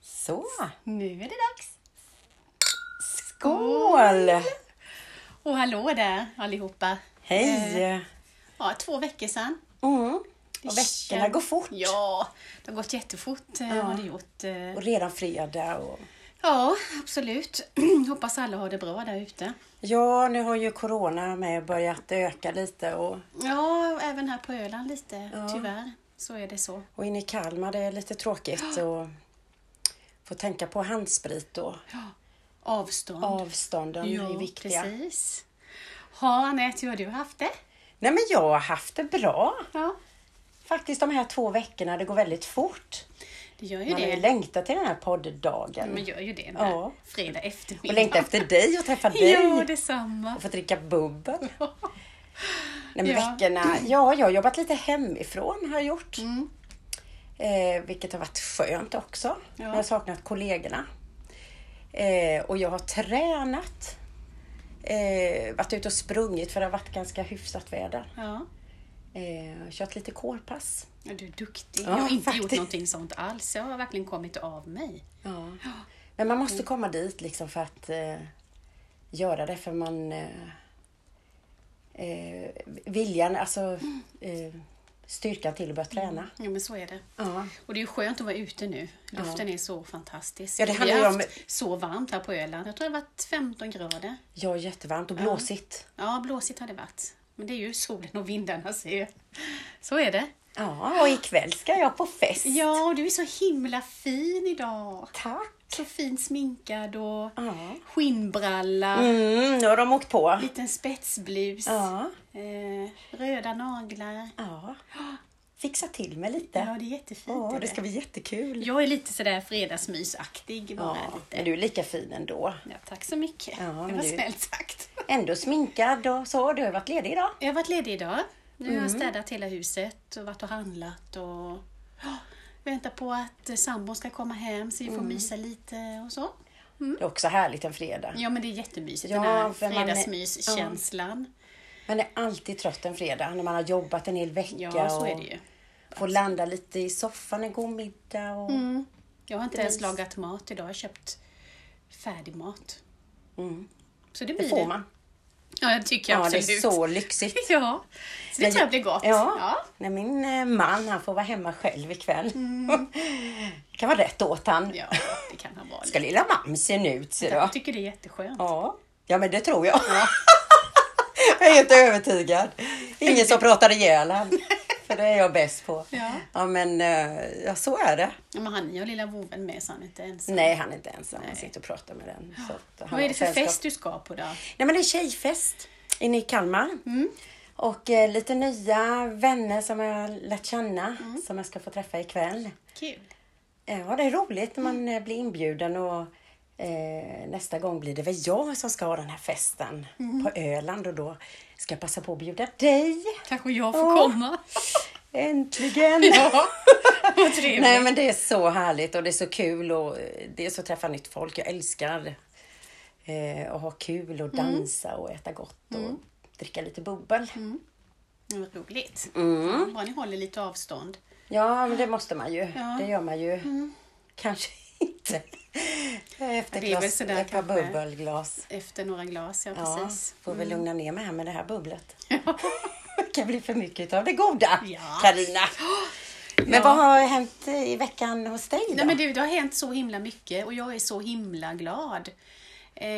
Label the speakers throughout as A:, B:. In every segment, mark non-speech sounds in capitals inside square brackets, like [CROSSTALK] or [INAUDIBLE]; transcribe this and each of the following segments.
A: Så,
B: Nu är det dags!
A: skål!
B: Och hallå där allihopa!
A: Hej!
B: Eh, Ja, två veckor sedan.
A: Mm. Och veckorna
B: Känn-
A: går fort.
B: Ja, det har gått jättefort. eh, Har det gjort. eh.
A: Och redan fredag. Och...
B: Ja, absolut. [CLEARS THROAT] Hoppas alla har det bra där ute.
A: Ja, nu har ju corona med börjat öka lite och,
B: Ja, även här på Öland lite, tyvärr. Så är det så.
A: och inne i Kalmar det är lite [GASPS] tråkigt. Och... Får tänka på handsprit och
B: Ja. Avstånd.
A: avstånden är viktiga.
B: precis. Ja, Anette, hur har du haft det?
A: Nej men jag har haft det bra.
B: Ja,
A: Faktiskt de här två veckorna, det går väldigt fort.
B: det gör ju
A: Man har ju
B: det.
A: längtat till den här podd-dagen.
B: Man gör ju det den
A: Ja.
B: här fredag eftermiddag.
A: Och längtat efter dig och träffa dig.
B: Ja, detsamma.
A: och få dricka bubbel. Nej, men
B: Ja.
A: veckorna, ja, jag har jobbat lite hemifrån har jag gjort. Eh, vilket har varit skönt också. Jag har saknat kollegorna. Eh, och jag har tränat. Eh, varit ute och sprungit för det har varit ganska hyfsat väder.
B: Ja.
A: Eh, kört lite kårpass.
B: Ja, du är duktig.
A: Ja,
B: jag har inte gjort
A: faktiskt.
B: någonting sånt alls. Jag har verkligen kommit av mig.
A: Ja. Men man måste komma dit liksom för att eh, göra det för man... Eh, eh, viljan, alltså eh, styrkan till att börja träna.
B: Ja, men så är det.
A: Ja.
B: Och det är ju skönt att vara ute nu. Luften är så fantastisk.
A: Ja, det
B: Vi
A: handlar
B: har
A: ju om-
B: haft så varmt här på Öland. Jag tror det har varit 15 grader.
A: Ja, jättevarmt och blåsigt.
B: Ja, blåsigt har det varit. Men det är ju solen och vindarna ser. Så är det.
A: Ja, och ikväll ska jag på fest.
B: Ja, du är så himla fin idag.
A: Tack.
B: Så fint sminkad och
A: Ja.
B: skinnbralla,
A: Mm, nu har de åkt på.
B: liten spetsblus,
A: Ja.
B: eh, röda naglar.
A: ja. Fixa till mig lite.
B: Ja, det är jättefint.
A: Ja,
B: är
A: det ska bli jättekul.
B: Jag är lite sådär fredagsmysaktig bara
A: Ja, men
B: lite.
A: du är lika fin ändå.
B: Ja, tack så mycket.
A: Ja,
B: det
A: men
B: var
A: du-
B: snällt sagt.
A: Ändå sminkad och så. Du har varit ledig idag.
B: Jag har varit ledig idag. Nu har jag
A: Mm.
B: städat hela huset och varit och handlat och ja, väntar på att eh, sambon ska komma hem så vi
A: Mm.
B: får mysa lite och så.
A: Det är också härligt en fredag.
B: Ja, men det är jättemysigt
A: Ja,
B: den här
A: för man är-
B: fredagsmyskänslan.
A: Man är alltid trött en fredag när man har jobbat en hel vecka.
B: Ja, så är det ju.
A: Och får landa lite i soffan en god middag. Och...
B: Mm, Jag har inte ens lagat mat idag. Jag har köpt färdig mat. Så det blir
A: Mm. Det får man.
B: Ja, jag tycker jag
A: Ja, det
B: absolut.
A: är så lyxigt.
B: [LAUGHS] Ja, så det tror jag blir gott.
A: Ja.
B: Ja.
A: När min eh, man han får vara hemma själv ikväll. [LAUGHS] kan vara rätt åt han.
B: Mm. Ja, det kan han vara.
A: Ska lilla mamsen ut ser du?
B: Jag tycker det är jätteskönt.
A: Ja. ja, men det tror jag. [LAUGHS] jag är helt övertygad. Ingen
B: [LAUGHS]
A: som pratar ihjäl han. För det är jag bäst på.
B: Ja.
A: ja men eh, ja, så är det.
B: Ja, men han har lilla vovven med så han är inte ensam.
A: Nej, han är inte ensam. Han sitter och pratar med den. Så att han
B: Vad är
A: har
B: det för
A: sällskap.
B: fest du ska på då?
A: Nej men det är tjejfest inne i Kalmar. Och eh, lite nya vänner som jag har lärt känna som jag ska få träffa ikväll.
B: Kul.
A: Eh, Ja, det är roligt när man eh, blir inbjuden och eh, nästa gång blir det väl jag som ska ha den här festen på Öland och då ska jag passa på att bjuda dig.
B: Kanske jag får
A: Åh.
B: komma.
A: Äntligen!
B: Ja, [LAUGHS] vad trevligt.
A: Nej men det är så härligt och det är så kul och eh, det är så att träffa nytt folk. Jag älskar eh, att ha kul och dansa och äta gott och dricka lite bubbel.
B: Ja, Mm, Vad roligt. Ja, Bara ni håller lite avstånd.
A: Ja, men det måste man ju.
B: Ja. Mm.
A: Det gör man ju. Kanske inte. Efter
B: Det är väl
A: glas,
B: sådär
A: ett par
B: kanske.
A: bubbelglas.
B: Efter några glas, ja
A: Ja,
B: precis. Mm.
A: får väl lugna ner mig här med det här
B: [LAUGHS]
A: bubblet. det kan bli för mycket av det goda,
B: Ja.
A: Karina. Men
B: Ja.
A: vad har hänt i veckan hos dig då?
B: Nej men du, det har hänt så himla mycket och jag är så himla glad. Eh,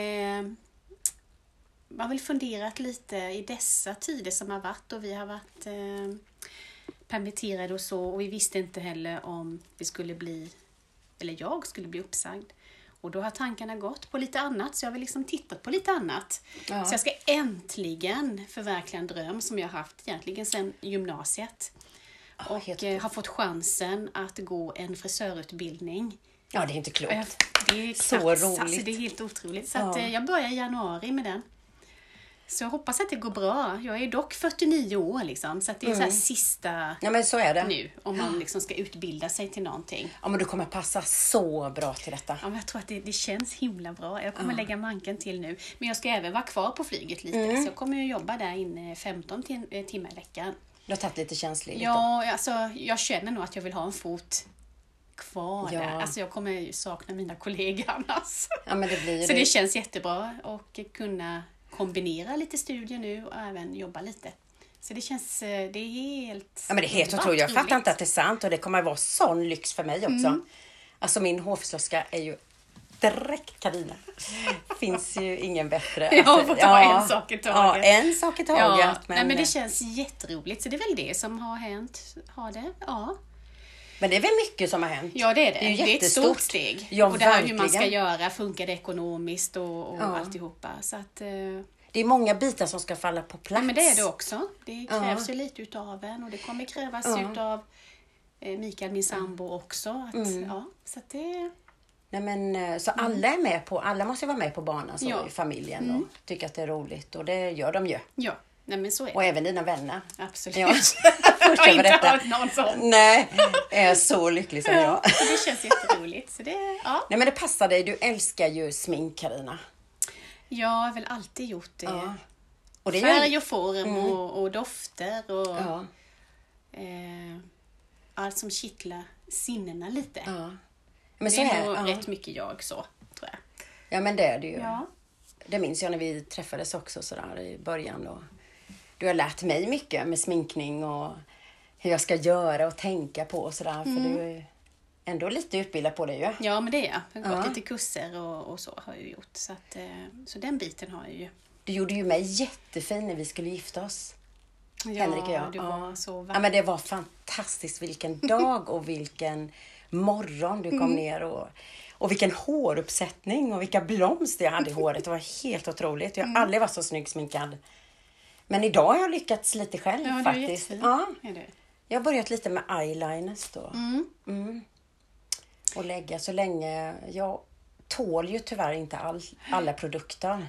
B: man har väl funderat lite i dessa tider som har varit och vi har varit eh, permitterade och så och vi visste inte heller om vi skulle bli, eller jag skulle bli uppsagd. Och då har tankarna gått på lite annat så jag har väl liksom tittat på lite annat.
A: Ja.
B: Så jag ska äntligen förverkliga en dröm som jag har haft egentligen sedan gymnasiet.
A: helt
B: Och eh, har fått chansen att gå en frisörutbildning.
A: Ja, det är inte klokt.
B: Och jag- Det är
A: Så
B: knappt-
A: roligt.
B: Alltså, det är helt otroligt. Så
A: Ja.
B: att, eh, jag börjar i januari med den. Så jag hoppas att det går bra. Jag är dock 49 år liksom, så att det är så
A: Mm.
B: här sista
A: Ja, men så är det.
B: nu om man liksom ska utbilda sig till någonting.
A: Ja, men du kommer passa så bra till detta.
B: Ja, men jag tror att det, det känns himla bra. Jag kommer lägga manken till nu. Men jag ska även vara kvar på flyget lite,
A: Mm.
B: så jag kommer ju jobba där inne 15 tim- eh, timmar i veckan.
A: Du har tagit lite känslig.
B: Ja, alltså, jag känner nog att jag vill ha en fot kvar
A: Ja.
B: där. Alltså jag kommer ju sakna mina kollegor [LAUGHS] annars.
A: Ja, men det blir ju
B: Så det
A: det.
B: känns jättebra och kunna kombinera lite studier nu och även jobba lite. Så det känns, eh, det är helt
A: Ja, men det är helt
B: underbart
A: otroligt. Jag
B: roligt.
A: fattar inte att det är sant och det kommer att vara sån lyx för mig också.
B: Mm.
A: Alltså min hårfrisörska är ju direkt Karina. Finns ju ingen
B: [LAUGHS]
A: bättre.
B: Ja,
A: Alltså,
B: får ta en sak i taget.
A: Ja, en sak i taget.
B: Ja,
A: men, eh,
B: nej, men det känns jätteroligt. Så det är väl det som har hänt. Har det? Ja.
A: är väl mycket som har hänt.
B: ja, det är det.
A: Det är ju
B: det är ett
A: jättestort.
B: stort steg.
A: Ja,
B: och det här hur man ska
A: verkligen.
B: göra, funkar det ekonomiskt och, och
A: Ja.
B: alltihopa. Så att, eh,
A: Det är många bitar som ska falla på plats.
B: ja, men det är det också. Det krävs ju lite utav en och det kommer krävas utav eh, Mikael, min sambo också. Att,
A: Mm.
B: ja, så att det,
A: Nej, men, eh, så alla är med på, alla måste ju vara med på banan så
B: Mm. Ja. Mm.
A: i familjen och tycka att det är roligt och det gör de ju.
B: ja, nej, men så är
A: Och
B: det.
A: även dina vänner.
B: Absolut.
A: Ja.
B: [LAUGHS]
A: [LAUGHS]
B: jag har
A: över
B: inte
A: detta.
B: hört någon sån.
A: Nej, är så lycklig som jag.
B: Ja, så det känns jätteroligt. Så det, ja.
A: Nej men det passar dig, du älskar ju smink Karina.
B: Jag har väl alltid gjort det.
A: Och det är ju... Mm.
B: Färg och form och, och dofter och
A: Ja,
B: eh, allt som kittlar sinnena lite.
A: ja. Men så
B: det är nog
A: är ja.
B: rätt mycket jag så, tror jag.
A: ja men det är det ju.
B: Ja.
A: Det minns jag när vi träffades också sådär i början. Och du har lärt mig mycket med sminkning och hur jag ska göra och tänka på och sådär.
B: Mm.
A: För du är ju ändå lite utbildad på det ju.
B: ja, men det är jag. Jag har gått lite kurser och, och så har jag ju gjort. Så, att, eh, så den biten har jag ju.
A: Du gjorde ju mig jättefin när vi skulle gifta oss.
B: Ja,
A: Henrik och jag.
B: Du var så
A: Ja,
B: vacker.
A: men det var fantastiskt.
B: [LAUGHS]
A: Vilken dag och vilken morgon du kom
B: Mm.
A: ner och, och vilken håruppsättning och vilka blomster jag hade i håret. Det var helt otroligt. Jag har
B: Mm.
A: aldrig varit så snygg sminkad. Men idag har jag lyckats lite själv
B: Ja, du är
A: faktiskt.
B: jättefin.
A: Ja,
B: Är du?
A: jag har börjat lite med eyeliners då. Mm. Och lägga så länge. Jag tål ju tyvärr inte all, alla produkter.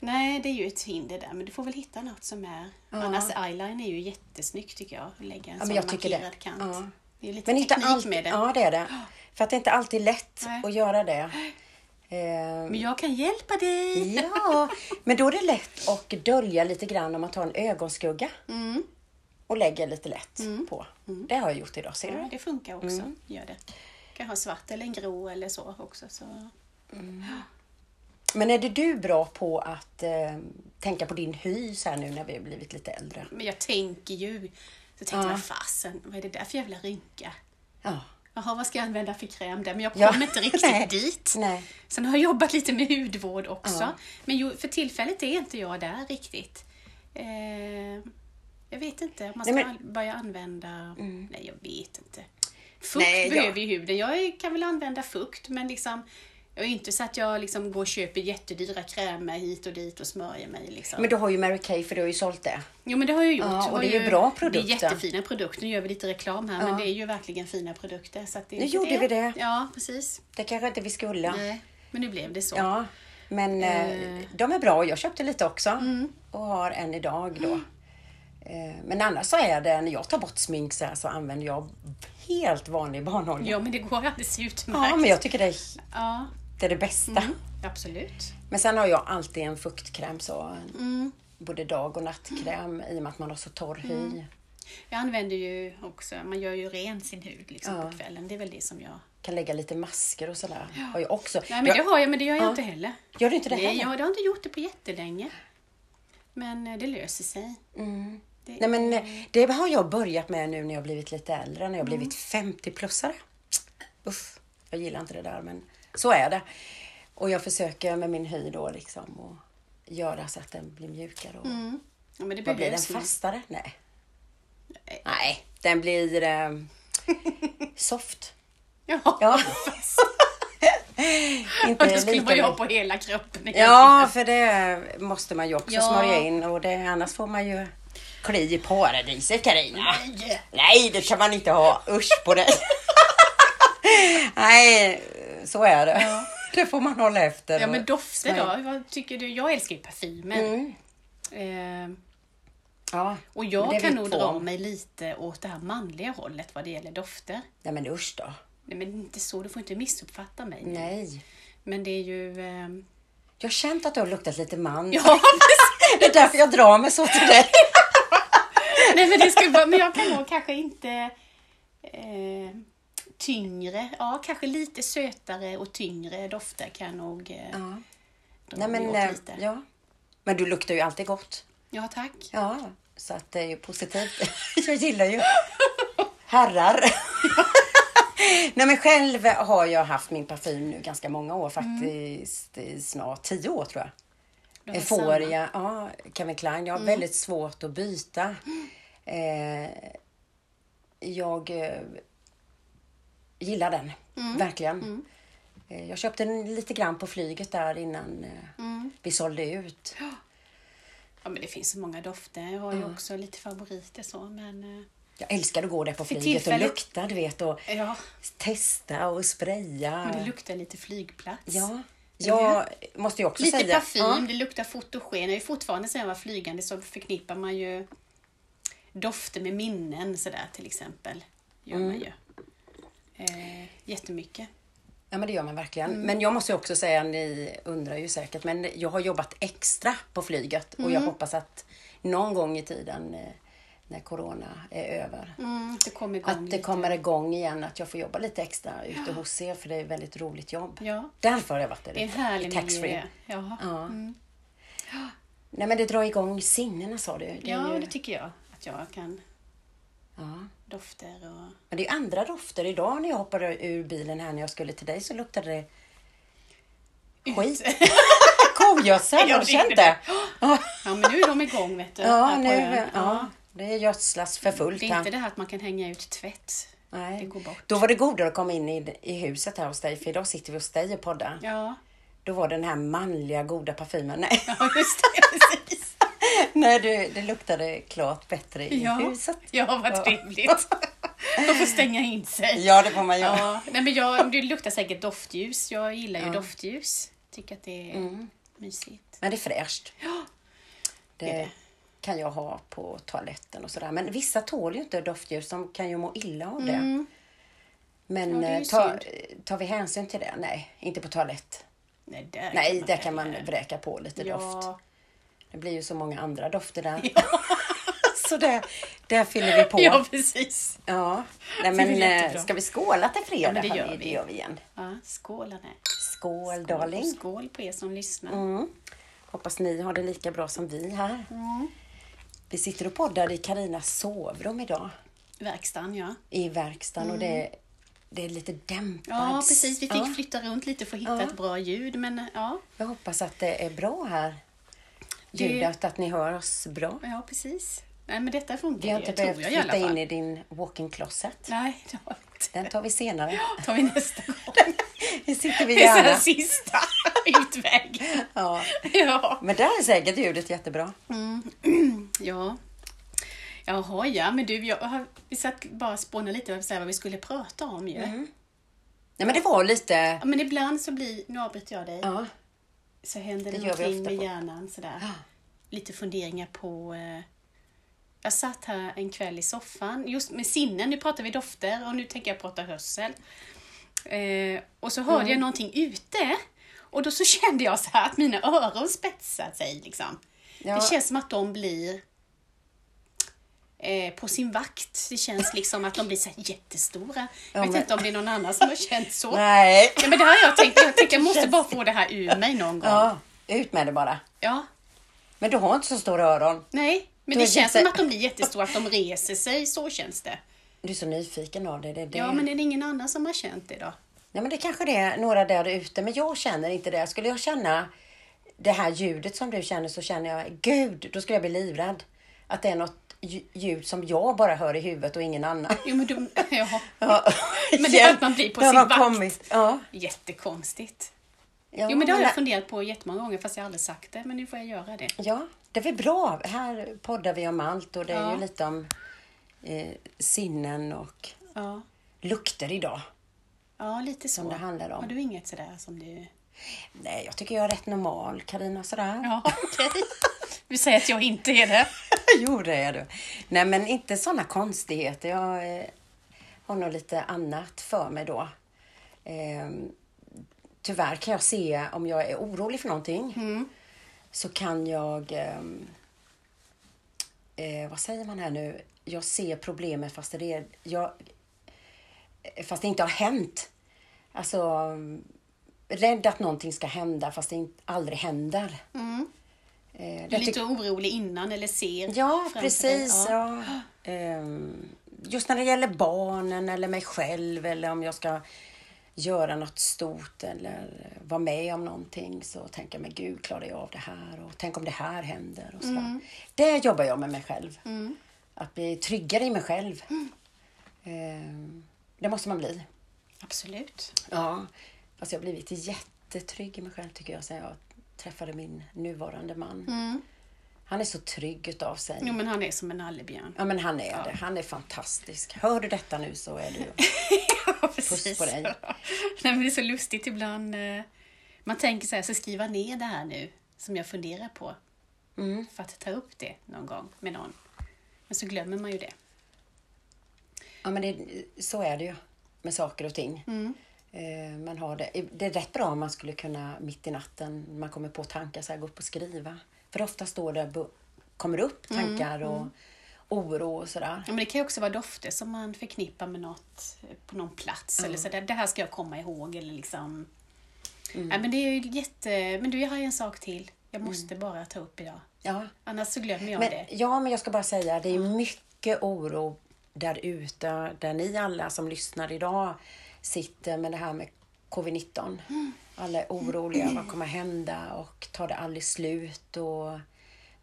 B: Nej, det är ju ett hinder där, men du får väl hitta något som är... Annars eyeliner är ju jättesnyggt tycker jag. Att lägga en
A: men
B: sån
A: jag tycker det.
B: markerad kant.
A: Ja.
B: Det är lite
A: Men inte
B: teknik
A: allt,
B: med det.
A: Ja, det
B: [GASPS]
A: är det. För att det är inte alltid lätt
B: Nej.
A: att göra
B: [GASPS]
A: det. Eh,
B: Men jag kan hjälpa dig!
A: Ja, men då är det lätt att dölja lite grann om man tar en ögonskugga Mm. och lägger lite lätt på. Det har jag gjort idag, ser
B: Ja,
A: du?
B: det funkar också.
A: Mm.
B: Gör det. kan ha svart eller en grå eller så också. Så.
A: Men är det du bra på att eh, tänka på din hy så här nu när vi har blivit lite äldre?
B: Men jag tänker ju, så tänkte jag fasen, vad är det där för jävla rynka?
A: Ja.
B: Jaha, vad ska jag använda för kräm där? Men jag
A: Ja.
B: kommer
A: [LAUGHS]
B: inte
A: Nej.
B: riktigt dit.
A: Nej.
B: Sen har jag jobbat lite med hudvård också. Men ju, för tillfället är inte jag där riktigt. Eh, jag vet inte om man ska
A: Nej, Mm.
B: an- börja använda... Nej, jag vet inte. Fukt
A: Nej, ja.
B: behöver ju huden. Jag är- kan väl använda fukt, men liksom... Jag är ju inte så att jag liksom går och köper jättedyra krämer hit och dit och smörjer mig. Liksom.
A: Men du har ju Mary Kay för du har ju sålt det.
B: Jo men det har jag gjort.
A: Ja, och
B: Har
A: det är ju bra produkter.
B: Det är jättefina produkter. Nu gör vi lite reklam här men det är ju verkligen fina produkter. Så att det,
A: Nu gjorde vi det.
B: Ja precis.
A: Det kanske inte vi skulle.
B: Nej. Men nu blev det så.
A: Ja, men eh, Mm. de är bra. Jag köpte lite också och har en idag då. Eh, Men annars så är det, när jag tar bort smink så, här, så använder jag helt vanlig barnolja.
B: Ja men det går alldeles utmärkt.
A: Ja, men jag tycker det är
B: Ja,
A: det, är det bästa.
B: Mm. absolut.
A: Men sen har jag alltid en fuktkräm så. en-
B: Mm.
A: Både dag och nattkräm i och med att man har så torr hy.
B: Mm. Jag använder ju också, man gör ju ren sin hud liksom på kvällen. Det är väl det som jag...
A: Kan lägga lite masker och sådär. Har jag också.
B: Nej men
A: jag,
B: det har jag, men det gör jag inte heller.
A: Gör du inte det
B: Nej,
A: heller?
B: jag, jag har inte gjort det på jättelänge. Men eh, det löser sig.
A: Mm.
B: Det-
A: Nej men eh, det har jag börjat med nu när jag blivit lite äldre, när jag
B: Mm.
A: blivit 50-plussare. Uff, jag gillar inte det där men så är det. Och jag försöker med min hy då liksom och göra så att den blir mjukare och
B: Ja,
A: vad
B: men det
A: blir den
B: behövs ju.
A: fastare? Nej.
B: Nej.
A: Nej, den blir
B: [LAUGHS]
A: eh, soft.
B: Ja, [LAUGHS]
A: Ja.
B: och
A: Inte
B: det skulle
A: lika
B: man ju ha
A: mjuk.
B: på hela kroppen.
A: Ja, för det måste man ju också
B: Ja.
A: smörja in och det, annars får man ju kli i paradiset Carina.
B: Nej.
A: Nej, det kan man inte ha. Usch
B: [LAUGHS]
A: på dig. Nej, så är det. [LAUGHS] Det får man hålla efter.
B: Ja
A: och
B: men dofter
A: smörja.
B: då? Vad tycker du? Jag älskar ju parfymer. Eh,
A: Ja,
B: och
A: Mm. men det
B: jag
A: är
B: kan
A: vi
B: nog
A: två
B: dra
A: om.
B: mig lite åt det här manliga hållet vad det gäller dofter.
A: Nej men usch då.
B: Nej men inte så, du får inte missuppfatta mig. nu.
A: Nej.
B: Men det är ju... ehm, [LAUGHS]
A: Jag har känt att du har luktat lite man.
B: Ja,
A: Det är därför jag drar mig så till dig.
B: nej men det skulle vara... Men jag kan nog kanske inte eh, tyngre, ja kanske lite sötare och tyngre dofter kan jag nog eh,
A: Ja.
B: dra
A: Nej, men,
B: åt
A: eh,
B: lite. Ja.
A: ja. men du luktar ju alltid gott.
B: tack.
A: Ja, så att det är ju positivt. [LAUGHS] Jag gillar ju [LAUGHS] herrar. Nej men själv har jag haft min parfym nu ganska många år faktiskt i snart tio år tror jag.
B: Du har samma.
A: Euphoria, ja, Calvin Klein. Jag har väldigt svårt att byta. Eh, jag eh, gillar den, verkligen. Eh, jag köpte den lite grann på flyget där innan eh, vi sålde ut.
B: Ja men det finns så många dofter. Jag har ju också lite favoriter så men eh,
A: Jag älskar att gå där på flyget
B: tillfället-
A: och lukta, du vet. Och
B: eh, ja,
A: testa och spraya.
B: men det luktar lite flygplats.
A: ja,
B: Ja.
A: jag måste ju också
B: Lite
A: säga.
B: parfym,
A: Ja.
B: det luktar fotogen. Jag är fortfarande sen jag var flygande så förknippar man ju dofter med minnen sådär till exempel. Gör man
A: Mm.
B: ju. Eh, jättemycket.
A: Ja, men det gör man verkligen.
B: Mm.
A: Men jag måste ju också säga, ni undrar ju säkert, men jag har jobbat extra på flyget och
B: Mm.
A: jag hoppas att någon gång i tiden eh, när Corona är över,
B: Mm, det kommer igång.
A: att det
B: lite.
A: kommer igång igen, att jag får jobba lite extra ute hos er, för det är ett väldigt roligt jobb.
B: Ja,
A: Därför har jag varit där
B: det är en
A: ute,
B: härlig
A: i taxfree.
B: miljö. Mm. Ja,
A: Ja. Nej, men det drar igång sinnena sa du. Det är
B: ja
A: ju,
B: det tycker jag att jag kan.
A: ja.
B: Dofter och...
A: Men det är ju andra dofter. Idag när jag hoppade ur bilen här när jag skulle till dig så luktade det skit.
B: [LAUGHS]
A: Kogödsel,
B: Ja,
A: har du
B: det är
A: känt
B: det.
A: det?
B: Ja, men nu är de igång vet du.
A: Ja,
B: här på
A: nu,
B: ön.
A: ja, det gödslas för fullt
B: Det är inte
A: här.
B: det här att man kan hänga ut tvätt. Det
A: Nej.
B: går bort.
A: Då var det godare att komma in i, i huset här hos dig, för idag sitter vi hos dig och poddar.
B: Ja,
A: Då var det den här manliga goda parfymen. [LAUGHS] Nej,
B: ja [LAUGHS] just det. Precis.
A: Nej du, det luktade klart bättre i
B: Ja,
A: huset.
B: ja vad
A: Ja.
B: trevligt. Man får stänga in sig.
A: Ja, det får man göra.
B: Ja, nej men jag, det luktar säkert doftljus. Jag gillar ju doftljus. Tycker att det är
A: Mm.
B: mysigt.
A: Men det är fräscht.
B: Ja,
A: Det kan jag ha på toaletten och sådär. Men vissa tål ju inte doftljus, de kan ju må illa av det. Men
B: Mm. Ja, det är ju
A: eh, ta, tar vi hänsyn till det? Nej, inte på toalett.
B: Nej, där
A: Nej, där
B: välja.
A: kan man vräka på lite doft.
B: Ja,
A: Det blir ju så många andra dofter där. [LAUGHS] så där, där fyller vi på.
B: ja
A: Ja.
B: precis.
A: Nej,
B: Det är
A: men
B: väl
A: eh,
B: jättebra.
A: ska vi skåla till fredag?
B: Ja, men det
A: hörni?
B: gör vi.
A: det gör vi igen.
B: Ja, skål Anne.
A: Skål,
B: Skål
A: darling.
B: och Skål på er som lyssnar.
A: Mm. Hoppas ni har det lika bra som vi här.
B: Mm.
A: Vi sitter och poddar i Karinas sovrum idag
B: Verkstaden ja.
A: i verkstaden och det, det är lite dämpad.
B: Mm. Ja precis, vi fick
A: Ja,
B: flytta runt lite för att hitta
A: Ja.
B: ett bra ljud men ja.
A: jag hoppas att det är bra här.
B: Det-
A: Ljudet, att ni hör oss bra.
B: Ja precis. Nej men detta funkar
A: Vi har inte
B: ju, tror
A: behövt
B: jag i alla
A: flytta in
B: fall.
A: i din walk-in closet.
B: Nej, det har vi inte.
A: Den tar vi senare.
B: tar vi nästa gång.
A: [LAUGHS] Det sitter vi
B: Det är så här
A: gärna.
B: sista [LAUGHS] utväg.
A: Ja.
B: Ja.
A: Men där är säkert ljudet jättebra.
B: ja. Jaha ja, men du, jag har, vi satt bara och spånade lite vad vi- så här, vad vi skulle prata om ju.
A: Nej men det var lite...
B: Ja, men ibland så blir, nu avbryter jag dig,
A: Ja.
B: så händer
A: det
B: det
A: gör vi
B: någonting
A: ofta
B: med
A: på-
B: hjärnan sådär. Lite funderingar på... Eh, jag satt här en kväll i soffan, just med sinnen, nu pratar vi dofter och nu tänker jag prata hörsel. Eh, och så hörde jag
A: Mm.
B: någonting ute och då så [LAUGHS] kände jag så här att mina öron spetsade sig liksom.
A: Ja.
B: Det känns som att de blir eh, på sin vakt. Det känns liksom att de blir så här jättestora. Jag vet
A: men-
B: inte om det är någon annan som har känt så.
A: [LAUGHS] Nej.
B: Ja, men det här har jag tänkt. Jag tänker jag måste bara få det här ur mig någon gång. Ja.
A: Ja, ut med det bara. Men du har inte så stora öron.
B: nej. Men
A: Du är
B: det känns
A: jätte-
B: som att de blir jättestora, att de reser sig. Så känns det.
A: Du är så nyfiken av dig. Det, är det.
B: Ja, men är det ingen annan som har känt det då?
A: Nej, men det kanske det är några där ute, men jag känner inte det. Skulle jag känna det här ljudet som du känner så känner jag, gud, då skulle jag bli livrädd. Att det är något lj- ljud som jag bara hör i huvudet och ingen annan.
B: Jo, men de... [LAUGHS] ja.
A: Ja.
B: Men det är att man blir på
A: Där
B: sin
A: har
B: vakt.
A: kommit. Ja.
B: Jättekonstigt.
A: Ja,
B: Jo, men det har jag
A: men-
B: funderat på jättemånga gånger fast jag har aldrig sagt det. Men nu får jag göra det.
A: Ja, det är väl bra. Här poddar vi om allt och det är
B: Ja.
A: ju lite om eh, sinnen och
B: Ja,
A: lukter idag.
B: ja lite så.
A: det handlar om.
B: Har du inget sådär som du...
A: Nej, jag tycker jag är rätt normal, Karina sådär. [LAUGHS]
B: Ja, okej. Vi säger att jag inte är det.
A: jo, det är du. Nej, men inte sådana konstigheter. Jag eh, har nog lite annat för mig då. Ehm, tyvärr kan jag se om jag är orolig för någonting.
B: Mm.
A: Så kan jag... ehm, eh, vad säger man här nu? Jag ser problemet fast det är... Jag, fast det inte har hänt. Alltså, rädd att någonting ska hända fast det inte- aldrig händer.
B: Mm.
A: Eh,
B: Du
A: det
B: är lite orolig innan eller ser
A: Ja,
B: framför dig.
A: precis.
B: Ja.
A: Ja. Ehm, Just när det gäller barnen eller mig själv eller om jag ska göra något stort eller vara med om någonting så tänker jag, men gud, klarar jag av det här? Och tänk om det här händer? Och så. Det jobbar jag med mig själv. Att bli tryggare i mig själv. Ehm, Det måste man bli.
B: Absolut.
A: Ja, fast jag har blivit jättetrygg i mig själv tycker jag sen jag träffade min nuvarande man. Han är så trygg utav sig.
B: Jo, men han är som en nallebjörn.
A: Ja men han är det. Han är fantastisk. Hör du detta nu så är du
B: Ja, precis.
A: Puss på dig.
B: [LAUGHS] Nej, men det är så lustigt ibland. eh, Man tänker så här, så skriva ner det här nu som jag funderar på.
A: Mm.
B: För att ta upp det någon gång med någon. Men så glömmer man ju det.
A: Ja men det, så är det ju med saker och ting. Eh, Man har det. det är rätt bra om man skulle kunna mitt i natten, man kommer på tankar, så här, gå upp och skriva. För ofta står det, bu- kommer det upp tankar och oro och sådär.
B: Ja, men det kan ju också vara dofter som man förknippar med något eh, på någon plats. Eller så där, det här ska jag komma ihåg. Eller liksom.
A: Mm.
B: ja, men det är ju jätte... Men du, jag har ju en sak till. Jag måste bara ta upp idag.
A: Ja.
B: Annars så glömmer jag
A: Mm. Men,
B: det.
A: ja men jag ska bara säga, det är mycket oro där ute, där ni alla som lyssnar idag sitter med det här med covid-19.
B: Mm.
A: Alla är oroliga, vad kommer hända och tar det aldrig slut och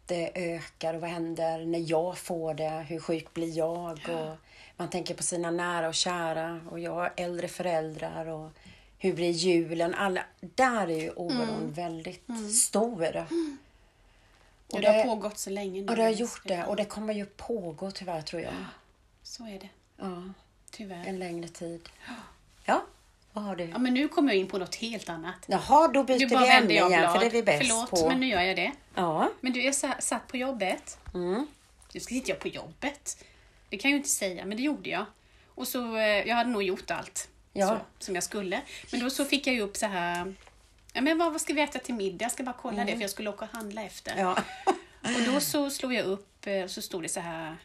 A: det ökar och vad händer när jag får det? Hur sjuk blir jag? Och man tänker på sina nära och kära och jag har äldre föräldrar och hur blir julen? Alla, där är ju oron
B: Mm.
A: väldigt stor.
B: Och
A: Och
B: det, har
A: det-
B: pågått så länge nu.
A: Ja, det har gjort det och det kommer ju pågå tyvärr tror jag.
B: Så är det,
A: Ja,
B: tyvärr.
A: en längre tid. Ja, vad har du?
B: Ja, men nu kommer jag in på något helt annat.
A: Jaha, då byter
B: Du
A: vi
B: bara vänder
A: ämne
B: jag
A: igen
B: blad.
A: för det är vi bäst
B: Förlåt,
A: på.
B: men nu gör jag det.
A: Ja,
B: Men du, jag sa- satt på jobbet.
A: mm.
B: Nu ska sitter jag på jobbet. Det kan jag ju inte säga, men det gjorde jag. Och så, eh, jag hade nog gjort allt
A: Ja.
B: så, som jag skulle. Men då så fick jag ju upp så här, ja, men vad, vad ska vi äta till middag? Jag ska bara kolla det, för jag skulle åka och handla efter.
A: Mm.
B: [LAUGHS]
A: ja.
B: Och då så slog jag upp eh, och så stod det så här,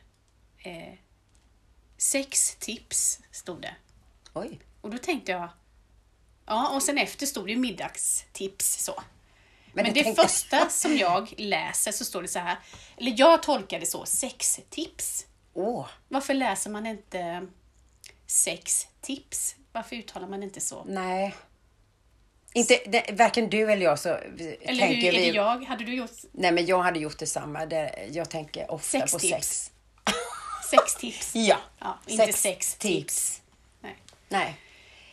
B: eh, sex tips stod det.
A: Oj.
B: Och då tänkte jag, ja och sen efter stod det ju middagstips så. Men,
A: Men du
B: det
A: tänkte-
B: första som jag läser så står det så här, eller jag tolkar det så, sextips.
A: Åh,
B: Varför läser man inte sextips? Varför uttalar man inte så?
A: nej. Inte, det, varken du eller jag så vi-
B: Eller hur
A: tänker
B: är
A: vi...
B: det jag? Hade du gjort
A: Nej, men jag hade gjort detsamma. Det, jag tänker ofta
B: Sex
A: på
B: tips.
A: sex. [LAUGHS]
B: sextips?
A: Ja,
B: Ja, inte sex
A: tips.
B: Nej.
A: Nej,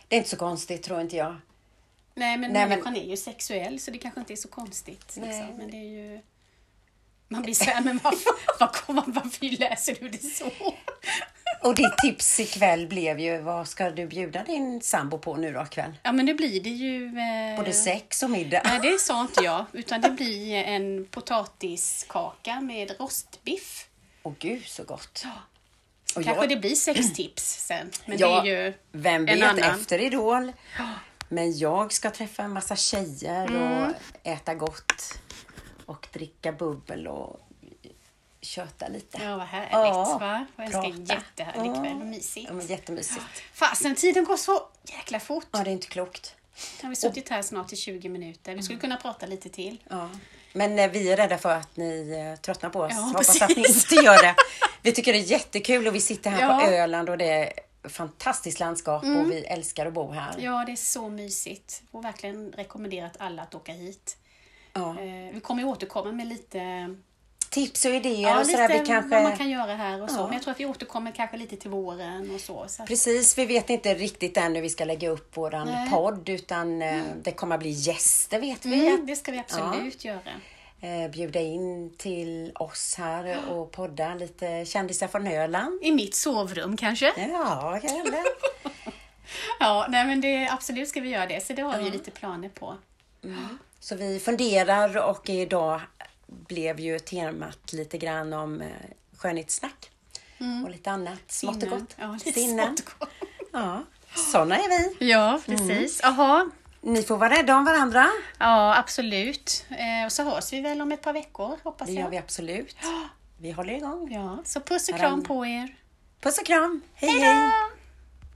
A: det är inte så konstigt tror inte jag.
B: Nej, men
A: Nej, men-
B: människan är ju sexuell så det kanske inte är så konstigt. Liksom.
A: Nej.
B: Men det är ju... Man blir så här, men
A: [LAUGHS]
B: varför, varför, varför läser du det så?
A: Och ditt tips ikväll blev ju, vad ska du bjuda din sambo på nu då ikväll?
B: Ja, men det blir det ju... Eh...
A: Både sex och middag.
B: Nej, det sa inte jag. Utan det blir en potatiskaka med rostbiff.
A: Åh gud så gott. Och
B: Kanske
A: jag,
B: det blir sex tips sen. Men
A: Ja,
B: det är ju
A: vem vet,
B: en annan.
A: efter Idol. Men jag ska träffa en massa tjejer
B: Mm.
A: och äta gott och dricka bubbel och köta lite.
B: Ja, vad härligt
A: Ja,
B: va? Jag önskar en
A: prata.
B: jättehärlig
A: Ja.
B: kväll. Vad mysigt.
A: Ja, men jättemysigt.
B: Fasen, tiden går så jäkla fort.
A: Ja, det är inte klokt.
B: Nu har vi suttit här snart i 20 minuter. Vi skulle kunna prata lite till.
A: Ja. Men eh, vi är rädda för att ni eh, tröttnar på oss.
B: Ja,
A: Hoppas
B: precis.
A: att ni inte gör det. Vi tycker det är jättekul och vi sitter här
B: Ja. Mm.
A: på Öland och det är fantastiskt landskap och vi älskar att bo här.
B: Ja, det är så mysigt. Och verkligen rekommenderat alla att åka hit.
A: Ja.
B: Eh, Vi kommer ju återkomma med lite
A: Tips och idéer
B: Ja,
A: och
B: lite
A: sådär. Vi kanske...
B: vad man kan göra här och så.
A: Ja.
B: Men jag tror att vi återkommer kanske lite till våren och så. så att,
A: Precis, vi vet inte riktigt än hur vi ska lägga upp våran
B: Nej.
A: podd utan eh, det kommer att bli gäster vet vi.
B: mm, det ska vi absolut göra.
A: Eh, bjuda in till oss här och podda lite kändisar från Öland.
B: I mitt sovrum kanske?
A: Ja, eller?
B: Ja, nej men det, absolut ska vi göra det. Så det har vi ju lite planer på.
A: Så vi funderar och idag blev ju temat lite grann om eh, skönhetssnack och lite annat smått och
B: Sinnen.
A: gott.
B: Mm. Ja, lite
A: Sinnen. Mm.
B: smått och gott.
A: Ja, sådana är vi.
B: Ja, precis. Jaha.
A: Ni får vara rädda om varandra.
B: Ja, absolut. Eh, och så hörs vi väl om ett par veckor, hoppas
A: Det gör
B: jag.
A: vi absolut. Vi håller igång.
B: Ja, så puss och
A: Varann.
B: kram på er.
A: Puss och kram. Hej,
B: Hej
A: hej.
B: då!